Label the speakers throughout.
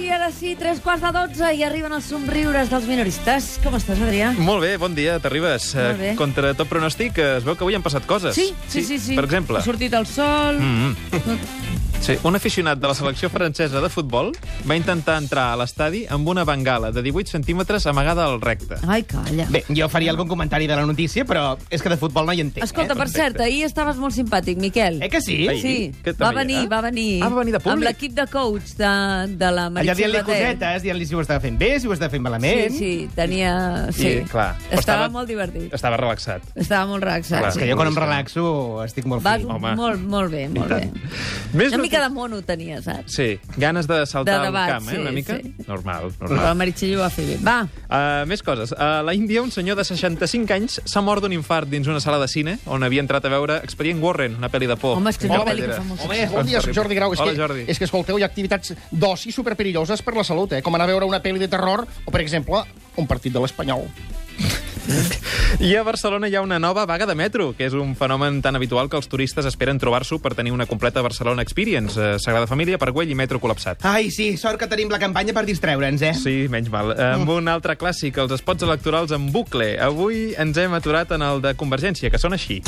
Speaker 1: i ara sí, tres quarts de dotze i arriben els somriures dels minoristes. Com estàs, Adrià?
Speaker 2: Molt bé, bon dia, t'arribes.
Speaker 1: Molt bé.
Speaker 2: Eh, Contra tot pronòstic, eh, es veu que avui han passat coses.
Speaker 1: Sí, sí, sí. sí.
Speaker 2: Per exemple,
Speaker 1: Ha sortit el sol...
Speaker 2: mm -hmm. sí, un aficionat de la selecció francesa de futbol va intentar entrar a l'estadi amb una bengala de 18 centímetres amagada al recte.
Speaker 1: Ai, calla.
Speaker 3: Bé, jo faria algun comentari de la notícia, però és que de futbol no hi entenc.
Speaker 1: Escolta,
Speaker 3: eh?
Speaker 1: per cert, ahir estaves molt simpàtic, Miquel.
Speaker 3: Eh que sí?
Speaker 2: Ai,
Speaker 1: Sí,
Speaker 2: Què te
Speaker 1: va
Speaker 2: veia?
Speaker 1: venir, va venir.
Speaker 2: Ah, va venir de públic.
Speaker 1: Amb l'equip de coach de, de la
Speaker 3: Allà
Speaker 1: Meritxell
Speaker 3: dient-li eh?
Speaker 1: Batet.
Speaker 3: cosetes, dient-li si ho estava fent bé, si ho estava fent
Speaker 1: Sí,
Speaker 3: malament...
Speaker 1: sí, tenia... Sí,
Speaker 2: I, clar,
Speaker 1: Estava, molt divertit.
Speaker 2: Estava relaxat.
Speaker 1: Estava molt relaxat.
Speaker 2: Clar,
Speaker 3: És
Speaker 1: sí.
Speaker 3: que jo quan em relaxo estic molt
Speaker 1: Vas
Speaker 3: feliç.
Speaker 2: Home.
Speaker 1: molt, molt bé, molt bé.
Speaker 2: Més
Speaker 1: Una mica
Speaker 2: noti-
Speaker 1: de mono tenia, saps?
Speaker 2: Sí, ganes de saltar
Speaker 1: De debat,
Speaker 2: al camp, eh,
Speaker 1: sí,
Speaker 2: una mica?
Speaker 1: sí.
Speaker 2: Normal,
Speaker 1: Però la
Speaker 2: normal.
Speaker 1: Meritxell ho va fer bé. Va,
Speaker 2: Uh, més coses. A la Índia, un senyor de 65 anys s'ha mort d'un infart dins una sala de cine on havia entrat a veure Expedient Warren, una pel·li de por.
Speaker 1: Home, és que és una pel·li que
Speaker 2: pallera.
Speaker 1: fa molt-
Speaker 4: Home, bon dia, soc Jordi Grau. És
Speaker 2: Hola,
Speaker 4: que,
Speaker 2: Jordi.
Speaker 4: És que, escolteu, hi ha activitats d'oci superperilloses per la salut, eh? com anar a veure una pel·li de terror o, per exemple, un partit de l'Espanyol.
Speaker 2: I a Barcelona hi ha una nova vaga de metro, que és un fenomen tan habitual que els turistes esperen trobar-s'ho per tenir una completa Barcelona Experience. Eh, Sagrada Família, Parguell i metro col·lapsat.
Speaker 3: Ai, sí, sort que tenim la campanya per distreure'ns, eh?
Speaker 2: Sí, menys mal. Eh, Amb un altre clàssic, els espots electorals en bucle. Avui ens hem aturat en el de Convergència, que són així.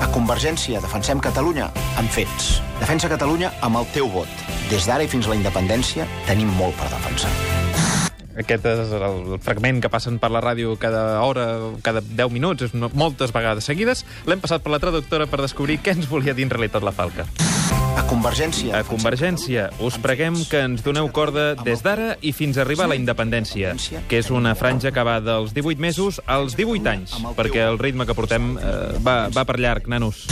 Speaker 5: A Convergència defensem Catalunya amb fets. Defensa Catalunya amb el teu vot. Des d'ara i fins a la independència tenim molt per defensar.
Speaker 2: Aquest és el fragment que passen per la ràdio cada hora, cada 10 minuts, és no- moltes vegades seguides. L'hem passat per la traductora per descobrir què ens volia dir en realitat la Falca.
Speaker 5: A Convergència...
Speaker 2: A Convergència, us preguem que ens doneu corda des d'ara i fins a arribar a la independència, que és una franja que va dels 18 mesos als 18 anys, perquè el ritme que portem eh, va, va per llarg, nanos.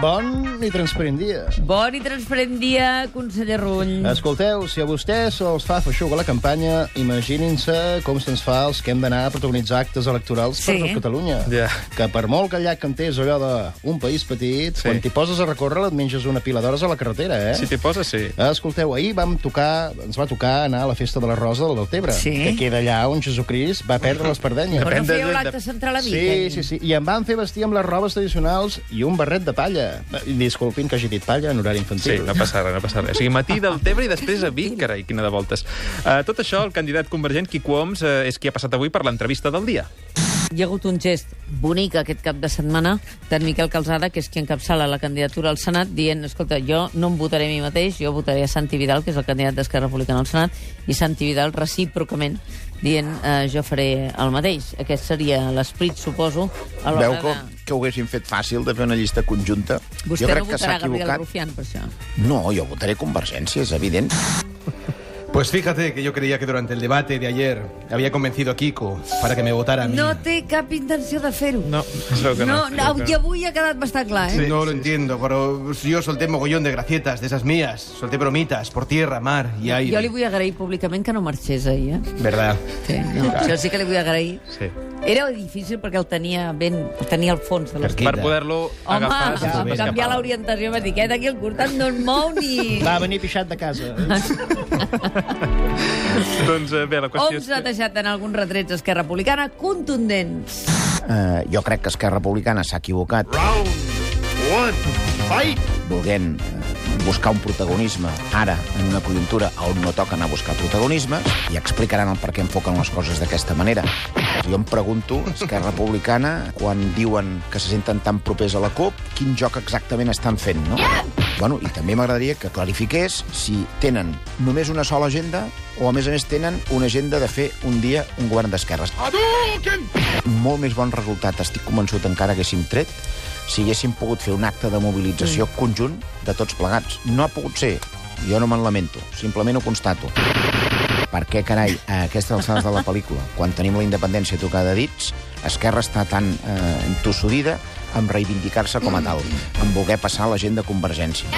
Speaker 6: Bon i transparent dia.
Speaker 1: bon i transparent dia, conseller Rull.
Speaker 6: Escolteu, si a vostès els fa feixuga la campanya, imaginin-se com se'ns fa els que hem d'anar a protagonitzar actes electorals
Speaker 1: Sí.
Speaker 6: per tot Catalunya.
Speaker 2: Ja.
Speaker 6: Que per molt que allà cantés allò de un país petit,
Speaker 2: Sí.
Speaker 6: quan t'hi poses a recórrer et menges una pila d'hores a la carretera, eh?
Speaker 2: Si t'hi poses, sí.
Speaker 6: Escolteu, ahir vam tocar, ens va tocar anar a la festa de la Rosa del Deltebre,
Speaker 1: Sí.
Speaker 6: que queda allà on Jesucrist va perdre l'Espardenya.
Speaker 1: Però no
Speaker 2: depèn de-
Speaker 1: fèieu
Speaker 2: de-
Speaker 1: l'acte central a mi. eh?
Speaker 6: Sí, sí, sí. I em van fer vestir amb les robes tradicionals i un barret de palla. Eh, Disculpin que hagi dit palla en horari
Speaker 2: Sí,
Speaker 6: infantil.
Speaker 2: no passa res, no passa res. O sigui, matí del Tebre i després a Vic, carai, quina de voltes. Uh, tot això, el candidat convergent, Quico Oms, uh, és qui ha passat avui per l'entrevista del dia.
Speaker 1: Hi ha hagut un gest bonic aquest cap de setmana d'en Miquel Calzada, que és qui encapçala la candidatura al Senat, dient, escolta, jo no em votaré a mi mateix, jo votaré a Santi Vidal, que és el candidat d'Esquerra Republicana al Senat, i Santi Vidal recíprocament dient, eh, jo faré el mateix. Aquest seria l'esperit, suposo, a l'hora
Speaker 7: Veu
Speaker 1: de...
Speaker 7: com que ho haguessin fet fàcil de fer una llista conjunta?
Speaker 1: Vostè
Speaker 7: jo crec
Speaker 1: no
Speaker 7: que s'ha
Speaker 1: votarà Gabriel
Speaker 7: equivocat.
Speaker 1: Rufián, per això.
Speaker 7: No, jo votaré Convergència, és evident.
Speaker 3: Pues fíjate que yo creía que durante el debate de ayer había convencido a Kiko para que me votara a mí.
Speaker 1: No té cap intenció de fer-ho.
Speaker 2: No, es veu que no.
Speaker 1: no, no, i avui ha quedat bastant clar, eh?
Speaker 3: no lo entiendo, pero yo solté mogollón de gracietas de esas mías. Solté bromitas por tierra, mar y
Speaker 1: Jo li vull agrair públicament que no marxés ahir, eh?
Speaker 3: ¿Verdad?
Speaker 1: Sí, no. Això sí que li vull agrair.
Speaker 2: Sí.
Speaker 1: Era difícil perquè el tenia ben... El tenia al fons de l'esquena.
Speaker 2: Per poder-lo
Speaker 1: Home,
Speaker 2: agafar... sense
Speaker 1: em
Speaker 2: haver
Speaker 1: canviar
Speaker 2: escapat.
Speaker 1: l'orientació, vaig dir, aquest aquí al costat no es mou ni...
Speaker 6: Va venir pixat de casa.
Speaker 1: Ah,
Speaker 2: Doncs eh, bé, la qüestió
Speaker 1: Oms ha deixat en alguns retrets a Esquerra Republicana contundents.
Speaker 7: Eh, jo crec que Esquerra Republicana s'ha equivocat. Round one, fight! Volguent eh, buscar un protagonisme ara en una conjuntura on no toca anar a buscar protagonisme i explicaran el per què enfoquen les coses d'aquesta manera. Jo em pregunto, Esquerra Republicana, quan diuen que se senten tan propers a la CUP, quin joc exactament estan fent, no? Bueno, I també m'agradaria que clarifiqués si tenen només una sola agenda o, a més a més, tenen una agenda de fer un dia un govern d'esquerres molt més bon resultat, estic convençut, encara haguéssim tret, si haguéssim pogut fer un acte de mobilització mm. conjunt de tots plegats. No ha pogut ser. Jo no me'n lamento, simplement ho constato. Per què, carai, a aquestes alçades de la pel·lícula, quan tenim la independència tocada a dits, Esquerra està tan eh, entossudida en reivindicar-se com a tal, en voler passar la gent de Convergència.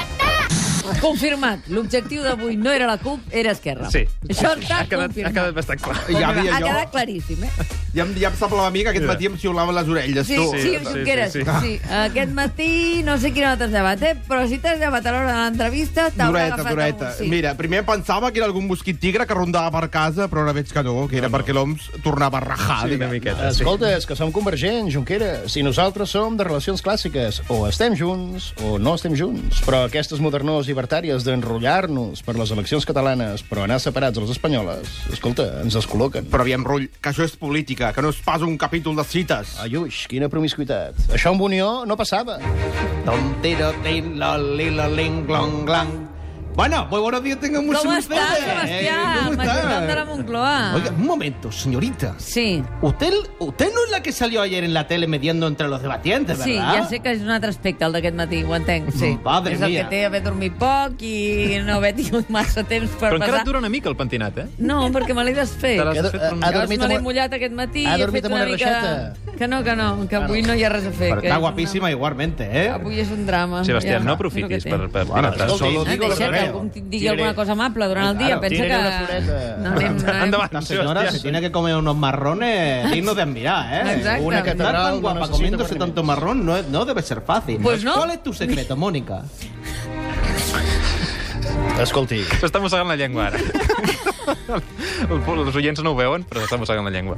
Speaker 1: Confirmat. L'objectiu d'avui no era la CUP, era Esquerra.
Speaker 2: Sí.
Speaker 1: Això està
Speaker 2: Ha quedat, ha
Speaker 1: confirmat.
Speaker 2: quedat bastant clar.
Speaker 1: Molt
Speaker 3: Ja
Speaker 1: bé,
Speaker 3: havia
Speaker 1: ha
Speaker 3: jo.
Speaker 1: quedat claríssim, eh?
Speaker 3: Ja, em- ja em semblava a mi que aquest
Speaker 2: Mira.
Speaker 3: matí em xiulaven les orelles,
Speaker 1: Sí,
Speaker 3: tu.
Speaker 1: sí,
Speaker 2: sí,
Speaker 1: sí,
Speaker 2: sí,
Speaker 1: Junqueras. Sí,
Speaker 2: sí,
Speaker 1: sí, Aquest matí no sé quina hora t'has llevat, eh? Però si t'has llevat a l'hora de l'entrevista, t'haurà
Speaker 3: Dureta,
Speaker 1: agafat
Speaker 3: dureta.
Speaker 1: algun...
Speaker 3: Mira, primer em pensava que era algun mosquit tigre que rondava per casa, però ara veig que no, que era perquè l'OMS tornava a rajar.
Speaker 2: Sí, una
Speaker 3: diguem.
Speaker 2: Ah, miqueta. Sí.
Speaker 6: Escolta, és que som convergents, Junquera. Si nosaltres som de relacions clàssiques, o estem junts o no estem junts. Però aquestes modernors i
Speaker 8: llibertàries d'enrotllar-nos per les eleccions catalanes però anar separats de les espanyoles, escolta, ens descol·loquen.
Speaker 3: Però aviam, Rull, que això és política, que no és pas un capítol de cites.
Speaker 8: Ayuix, quina promiscuitat. Això amb Unió no passava.
Speaker 3: Tom, tiro, tin, loli, loling, glong, glang. Bueno, muy buenos días, tengan mucho Eh,
Speaker 1: ¿Cómo está, Sebastián? Mayordomo de la Moncloa.
Speaker 3: Oiga, un momento, señorita.
Speaker 1: Sí,
Speaker 3: Usted, usted no es la que salió ayer en la tele mediando entre los debatientes, ¿verdad?
Speaker 1: sí, ja sé que és un altre aspecte, el d'aquest matí, ho entenc. Sí.
Speaker 3: Madre
Speaker 1: és el
Speaker 3: mía.
Speaker 1: que té haver dormit poc i no haver tingut massa temps per
Speaker 2: Però encara
Speaker 1: passar...
Speaker 2: et dura una mica el pentinat, eh?
Speaker 1: No, perquè me l'he desfet.
Speaker 2: Te l'has
Speaker 8: Ha,
Speaker 2: fet
Speaker 8: ha,
Speaker 2: un-
Speaker 8: ha
Speaker 1: Llavors
Speaker 8: dormit
Speaker 1: me l'he
Speaker 8: amb... una-
Speaker 1: mullat aquest matí
Speaker 8: ha
Speaker 1: i he
Speaker 8: dormit
Speaker 1: fet
Speaker 8: amb
Speaker 1: una,
Speaker 8: una
Speaker 1: mica...
Speaker 8: reixeta.
Speaker 1: Que no, que no, que avui no hi ha res a fer. que és
Speaker 3: Está
Speaker 1: una-
Speaker 3: guapísima igualmente, ¿eh?
Speaker 1: Avui és un drama.
Speaker 2: Sebastián,
Speaker 1: Ah, ja, és el
Speaker 2: no
Speaker 1: que
Speaker 2: aprofitis
Speaker 1: té.
Speaker 2: per, per piratar.
Speaker 8: escolti,
Speaker 1: Eh,
Speaker 3: digo lo
Speaker 1: deixa
Speaker 3: que
Speaker 1: que
Speaker 3: veo.
Speaker 1: algú digui
Speaker 8: Tiraré-
Speaker 1: alguna cosa amable durant el dia.
Speaker 3: Claro,
Speaker 1: Pensa
Speaker 8: tiraré una
Speaker 1: que...
Speaker 8: floreta.
Speaker 1: No anem, no anem...
Speaker 2: Endavant,
Speaker 3: La señora se
Speaker 2: Sebastián.
Speaker 3: tiene que comer unos marrones dignos de admirar, ¿eh?
Speaker 1: Exacto.
Speaker 3: Una
Speaker 1: Una
Speaker 3: que está
Speaker 8: catedral,
Speaker 3: tan
Speaker 8: no
Speaker 3: guapa
Speaker 8: necesita
Speaker 3: comiéndose
Speaker 8: permiso.
Speaker 3: tanto marrón no, es- no debe ser fácil.
Speaker 1: Pues no.
Speaker 3: ¿Cuál es tu secreto, Mónica?
Speaker 8: Escolti,
Speaker 2: S'està mossegant la llengua, ara. El- Els oients no ho veuen, però s'està mossegant la llengua.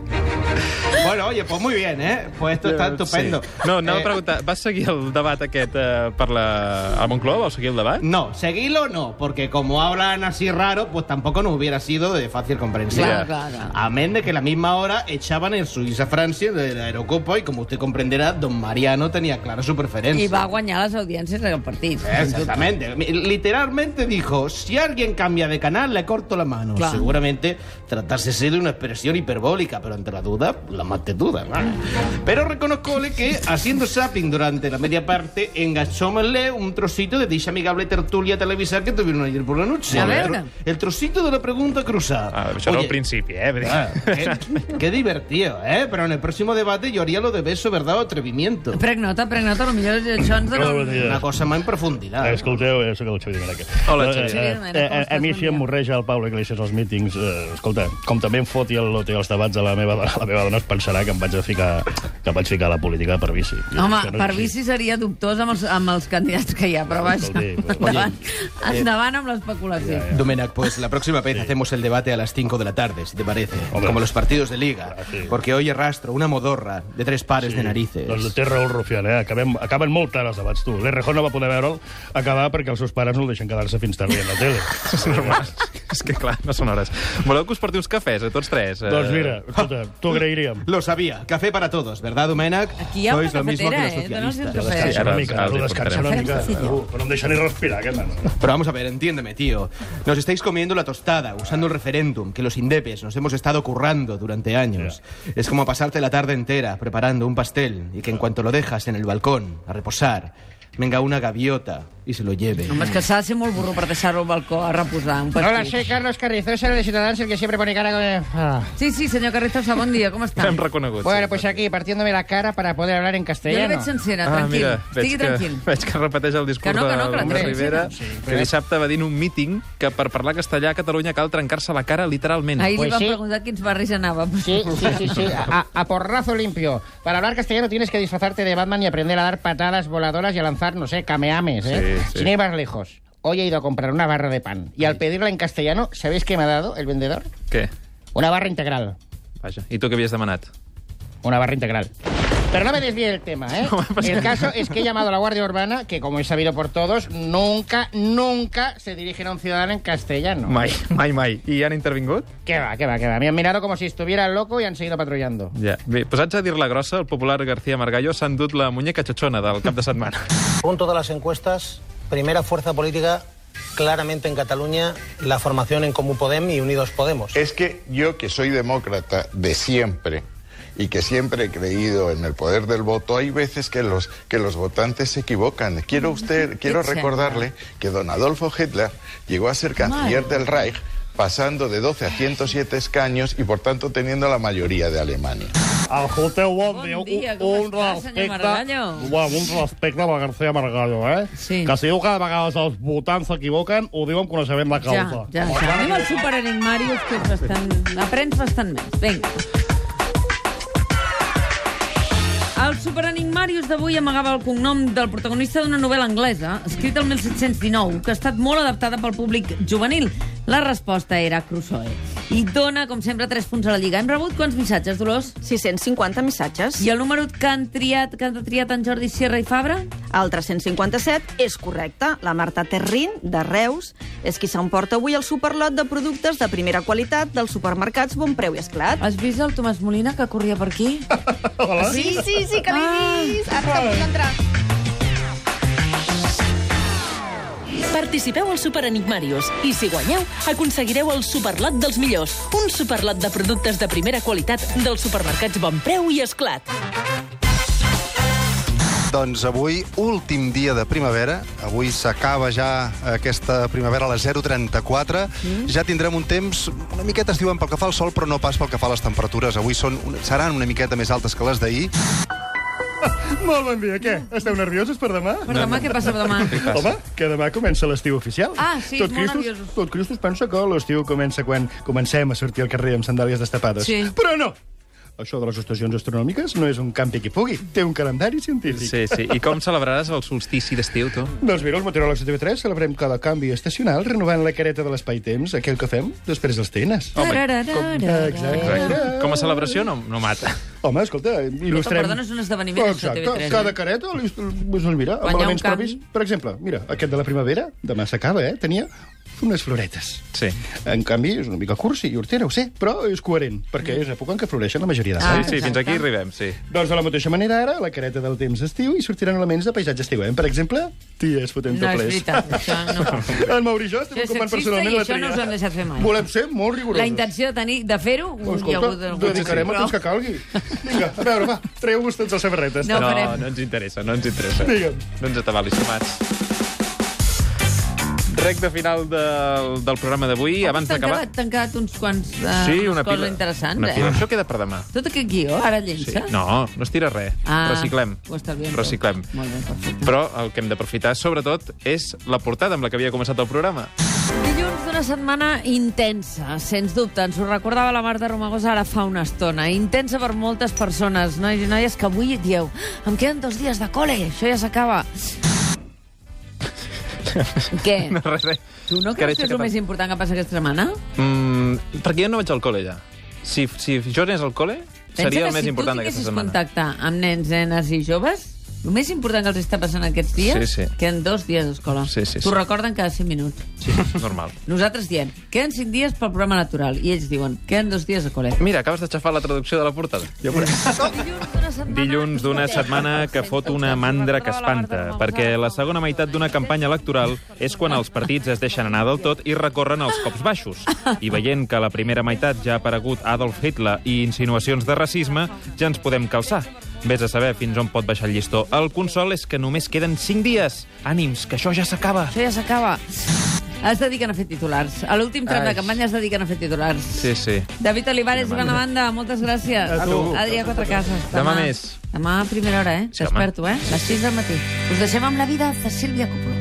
Speaker 3: Bueno, oye, pues muy bien, ¿eh? Pues esto está estupendo.
Speaker 2: No, anava
Speaker 3: Eh,
Speaker 2: a preguntar, vas seguir el debat aquest eh, per la... a Moncloa? Vas seguir el debat?
Speaker 3: No, seguirlo no, porque como hablan así raro, pues tampoco nos hubiera sido de fácil comprensión.
Speaker 1: Claro, claro.
Speaker 3: Amén de que a la misma hora echaban el Suiza Francia del aerocopo y como usted comprenderá, don Mariano tenía clara su preferencia.
Speaker 1: I va guanyar les audiències del partit.
Speaker 3: Eh? Exactamente. Literalmente dijo, si alguien cambia de canal, le corto la mano.
Speaker 1: Claro.
Speaker 3: Seguramente tratársese de una expresión hiperbólica, pero ante la duda, la más de duda. ¿no? Pero reconozcole que, haciendo zapping durante la media parte, enganchómosle un trocito de dicha amigable tertulia televisar que tuvieron ayer por la noche.
Speaker 1: A ver.
Speaker 3: El, trocito de la pregunta cruzada.
Speaker 2: Ah, això era
Speaker 3: Oye,
Speaker 2: al principi, eh? Vull dir-
Speaker 3: ah, qué, qué divertido, ¿eh? Pero en el próximo debate yo haría lo de beso, ¿verdad? O atrevimiento.
Speaker 1: Prenc nota, prenc nota, potser això ens dona...
Speaker 6: Hola, bon
Speaker 1: un-
Speaker 6: dia.
Speaker 3: Una cosa más en profundidad.
Speaker 6: Eh, Escolteu, eh, sóc el Xavier Domènech.
Speaker 2: Hola,
Speaker 6: No,
Speaker 2: Xavier.
Speaker 6: eh,
Speaker 1: Xavier
Speaker 6: eh,
Speaker 1: Domènech,
Speaker 6: eh, A mi
Speaker 1: com
Speaker 6: si
Speaker 1: estàs?
Speaker 6: em morreja el Pau Iglesias als mítings, eh, escolta, com també em foti el lote als debats de la meva, dona, la meva dona es pensarà que em vaig a ficar, que em vaig ficar a la política per vici. Jo
Speaker 1: Home,
Speaker 6: crec que no és
Speaker 1: per
Speaker 6: així.
Speaker 1: vici seria dubtós amb els, amb els candidats que hi ha, però vaja,
Speaker 6: Escolti, però-
Speaker 1: endavant, endavant amb l'especulació.
Speaker 3: Domènec, pues la próxima vez hacemos el debate a las 5 de la tarde, si te parece.
Speaker 6: Hombre.
Speaker 3: Como los partidos de liga.
Speaker 6: Ah, sí.
Speaker 3: Porque hoy arrastro una modorra de tres pares de narices.
Speaker 6: Doncs té raó el Rufián, eh? Acabem, acaben molt tard els debats, tu. L'Errejón no va poder veure'l acabar perquè els seus pares no el deixen quedar-se fins tard a la tele.
Speaker 2: És normal. És que, clar, no són hores. Voleu que us porti uns cafès, a tots tres? Eh,
Speaker 6: doncs mira, escolta, t'ho agrairíem.
Speaker 3: Lo sabía. Café para todos, ¿verdad, Domènec?
Speaker 1: Aquí hi ha
Speaker 3: Sois
Speaker 1: una
Speaker 3: lo mismo que
Speaker 1: cafetera,
Speaker 3: los
Speaker 1: eh? Dóna'ls un cafè.
Speaker 3: socialistas.
Speaker 2: Sí,
Speaker 6: Descansa
Speaker 2: ara-
Speaker 6: una mica,
Speaker 2: ara
Speaker 6: tu,
Speaker 2: li
Speaker 6: descansa una
Speaker 1: portarem.
Speaker 6: mica.
Speaker 1: Sí, sí.
Speaker 6: Uh, però no em deixa ni respirar, aquest nano.
Speaker 3: Pero vamos a ver, entiéndeme, tío. Nos estáis comiendo la tostada usando el referéndum que los indepes nos hemos estado currando durante años. Es como pasarte la tarde entera preparando un pastel y que en cuanto lo dejas en el balcón a reposar, venga una gaviota y se lo lleve.
Speaker 1: Home, és que s'ha de ser molt burro per deixar-ho al balcó a reposar un
Speaker 2: Pues
Speaker 9: Hola,
Speaker 1: partit.
Speaker 9: soy Carlos Carrizosa de Ciudadanos, el que siempre pone cara de... Ah.
Speaker 1: Sí, sí, senyor Carrizosa, bon dia, com està?
Speaker 2: Eh, Hem reconegut.
Speaker 9: Bueno,
Speaker 2: Pues sí.
Speaker 9: pues aquí, partiéndome la cara para poder hablar en
Speaker 1: Jo la
Speaker 9: castellano.
Speaker 1: veig sencera,
Speaker 2: Ah,
Speaker 1: tranquil.
Speaker 2: mira, veig
Speaker 1: Estigui
Speaker 2: que,
Speaker 1: tranquil.
Speaker 2: veig que repeteix el discurs
Speaker 1: Que no, que no, que la
Speaker 2: de Lluís
Speaker 1: tens.
Speaker 2: Rivera,
Speaker 1: Sí,
Speaker 2: que dissabte va dir en un míting que per parlar castellà a Catalunya cal trencar-se la cara literalment.
Speaker 1: Ahir li
Speaker 9: Pues
Speaker 1: van
Speaker 9: sí.
Speaker 1: preguntar a quins barris anàvem.
Speaker 9: Sí, sí, sí, sí. A, a porrazo limpio. Para hablar castellano tienes que disfrazarte de Batman y aprender a dar patadas voladoras y a lanzar, no sé, cameames, ¿eh?
Speaker 2: Sí, sí.
Speaker 9: Sin ir más lejos. Hoy he ido a comprar una barra de pan y al pedirla en castellano, ¿sabéis qué me ha dado el vendedor?
Speaker 2: Què?
Speaker 9: Una barra integral.
Speaker 2: Vaja, i tu què havies demanat?
Speaker 9: Una barra integral. Pero no me desvíe del tema, ¿eh? El caso es que he llamado a la Guardia Urbana, que como es sabido por todos, nunca, nunca se dirigen a un ciudadano en castellano.
Speaker 2: Mai, mai, mai. I han intervingut?
Speaker 9: ¿Qué va, qué va, qué va? Me han mirado como si estuviera loco y han seguido patrullando.
Speaker 2: Ja. Bé, posats a dir la grossa, el popular García Margallo s'ha endut la muñeca xochona del cap de setmana.
Speaker 10: Según todas las encuestas, primera fuerza política claramente en Cataluña, la formación en Comú Podem y Unidos Podemos.
Speaker 11: Es que yo que soy demócrata de siempre y que siempre he creído en el poder del voto, hay veces que los, que los votantes se equivocan. Quiero, usted, quiero
Speaker 1: cierto.
Speaker 11: recordarle que don Adolfo Hitler llegó a ser canciller del Reich pasando de 12 a 107 escaños y por tanto teniendo la mayoría de Alemania.
Speaker 6: Escolteu, bon,
Speaker 1: Bon
Speaker 6: dia.
Speaker 1: dia, com està, senyor Margallo?
Speaker 6: Bueno, un respecte per García Margallo, eh?
Speaker 1: Sí.
Speaker 6: Que si diu que de vegades els votants s'equivoquen, ho diu amb coneixement de
Speaker 1: Ja,
Speaker 6: causa.
Speaker 1: ja, ja. Anem al superenigmàrius, que és bastant... Aprens bastant més. Vinga. El superenigmàrius d'avui amagava el cognom del protagonista d'una novel·la anglesa, escrita el 1719, que ha estat molt adaptada pel públic juvenil. La resposta era Crusoe. I dona, com sempre, 3 punts a la Lliga. Hem rebut quants missatges, Dolors?
Speaker 12: 650 missatges.
Speaker 1: I el número que han triat, que han triat en Jordi Sierra i Fabra?
Speaker 12: El 357 és correcte. La Marta Terrin, de Reus, és qui s'emporta avui el superlot de productes de primera qualitat dels supermercats Bon Preu i Esclat.
Speaker 1: Has vist el Tomàs Molina que corria per aquí?
Speaker 12: Hola. Sí, sí, sí, que l'he vist. Ara que vull entrar.
Speaker 13: Participeu al Super Enigmàrius i, si guanyeu, aconseguireu el superlot dels millors, un superlot de productes de primera qualitat dels supermercats Bon Preu i Esclat.
Speaker 14: Doncs avui, últim dia de primavera. Avui s'acaba ja aquesta primavera a les 0.34. Mm. Ja tindrem un temps una miqueta, es diuen, pel que fa al sol, però no pas pel que fa a les temperatures. Avui són, seran una miqueta més altes que les d'ahir.
Speaker 6: Molt bon dia. Què? Esteu nerviosos per demà?
Speaker 1: Per demà, què passa demà?
Speaker 6: Home, que demà comença l'estiu oficial.
Speaker 1: Ah, sí,
Speaker 6: tot
Speaker 1: molt
Speaker 6: Cristos,
Speaker 1: nerviosos.
Speaker 6: Tot Cristos pensa que l'estiu comença quan comencem a sortir al carrer amb sandàlies destapades.
Speaker 1: Sí.
Speaker 6: Però no! Això de les estacions astronòmiques no és un campi qui pugui. Té un calendari científic.
Speaker 2: Sí, sí. I com celebraràs el solstici d'estiu, tu?
Speaker 6: Doncs mira, els meteoròlegs de TV3 celebrem cada canvi estacional renovant la careta de l'espai-temps, aquell que fem després dels tenes.
Speaker 2: Home,
Speaker 1: com...
Speaker 2: Exacte. Com a celebració no, no mata.
Speaker 6: Home, escolta, eh, il·lustrem...
Speaker 1: Perdona, és un esdeveniment, això,
Speaker 6: Exacte.
Speaker 1: TV3, eh?
Speaker 6: Cada careta, li- doncs
Speaker 1: Guanyar
Speaker 6: mira,
Speaker 1: un
Speaker 6: amb elements
Speaker 1: camp.
Speaker 6: propis. Per exemple, mira, aquest de la primavera, demà s'acaba, eh? Tenia unes floretes.
Speaker 2: Sí.
Speaker 6: En canvi, és una mica cursi i hortera, ho sé, però és coherent, perquè és època en què floreixen la majoria
Speaker 1: Ah.
Speaker 6: de
Speaker 2: Sí, sí, fins aquí arribem, sí.
Speaker 6: Doncs de la mateixa manera, ara, a la careta del temps estiu i sortiran elements de paisatge estiu. Eh? Per exemple, ties fotent
Speaker 1: No, és
Speaker 6: topless.
Speaker 1: veritat, això no.
Speaker 6: En Mauri i jo estem
Speaker 1: Això és
Speaker 6: ocupant
Speaker 1: sexista
Speaker 6: personalment
Speaker 1: i
Speaker 6: la
Speaker 1: això
Speaker 6: tria.
Speaker 1: no us ho han deixat fer mai.
Speaker 6: Volem ser molt rigorosos.
Speaker 1: La intenció de tenir de fer-ho
Speaker 6: Oh,
Speaker 1: hi ha
Speaker 6: Escolta,
Speaker 1: hagut algun
Speaker 6: dedicarem el temps que calgui. Vinga, a veure, va, treu-vos tots les samarretes.
Speaker 2: no, no ens interessa, no ens interessa.
Speaker 6: Digue'm.
Speaker 2: No ens atabalis, tomats. Recte final del, del programa d'avui. Abans
Speaker 1: T'han
Speaker 2: d'acabar...
Speaker 1: quedat, t'han quedat uns quants uh,
Speaker 2: Sí, una
Speaker 1: coses
Speaker 2: pila.
Speaker 1: interessants,
Speaker 2: Una pila.
Speaker 1: eh?
Speaker 2: Això queda per demà.
Speaker 1: Tot aquest guió, ara
Speaker 2: Sí.
Speaker 1: llença?
Speaker 2: No, no es tira res.
Speaker 1: Ah,
Speaker 2: Reciclem.
Speaker 1: ho estalviem tot.
Speaker 2: Reciclem.
Speaker 1: Molt bé, perfecte.
Speaker 2: Però el que hem d'aprofitar, sobretot, és la portada amb la que havia començat el programa.
Speaker 1: Dilluns d'una setmana intensa, sens dubte. Ens ho recordava la Marta Romagosa ara fa una estona. Intensa per moltes persones, nois i noies, que avui dieu em queden dos dies de col·le, això ja s'acaba. Què?
Speaker 2: No, res, res.
Speaker 1: Eh. Tu no creus que és el més important que passa aquesta setmana?
Speaker 2: Mm, perquè jo no vaig al col·le, ja. Si, si jo anés al col·le, seria el més important
Speaker 1: d'aquesta
Speaker 2: d'aquesta setmana.
Speaker 1: contacte amb nens, nenes i joves, el més important que els està passant aquests dies,
Speaker 2: Sí, sí.
Speaker 1: queden dos dies d'escola.
Speaker 2: Sí, sí, sí.
Speaker 1: T'ho recorden cada 5 minuts.
Speaker 2: Sí, normal.
Speaker 1: Nosaltres diem, queden 5 dies pel programa natural, i ells diuen, queden dos dies a col·le.
Speaker 2: Mira, acabes d'aixafar la traducció de la portada. Jo Dilluns d'una setmana que fot una mandra que espanta, perquè la segona meitat d'una campanya electoral és quan els partits es deixen anar del tot i recorren als cops baixos. I veient que a la primera meitat ja ha aparegut Adolf Hitler i insinuacions de racisme, ja ens podem calçar. Ves a saber fins on pot baixar el llistó. El consol és que només queden 5 dies. Ànims, que això ja s'acaba.
Speaker 1: Això ja s'acaba. Es dediquen a fer titulars. A l'últim tram de
Speaker 2: Ai.
Speaker 1: campanya es dediquen a fer titulars.
Speaker 2: Sí, sí.
Speaker 1: David Olivares, bona banda, moltes gràcies.
Speaker 2: A tu.
Speaker 1: Adrià Quatrecases.
Speaker 2: Demà més.
Speaker 1: Demà a primera hora, eh? T'esperto, eh? Les 6 del matí. Us deixem amb la vida de Sílvia Coppola.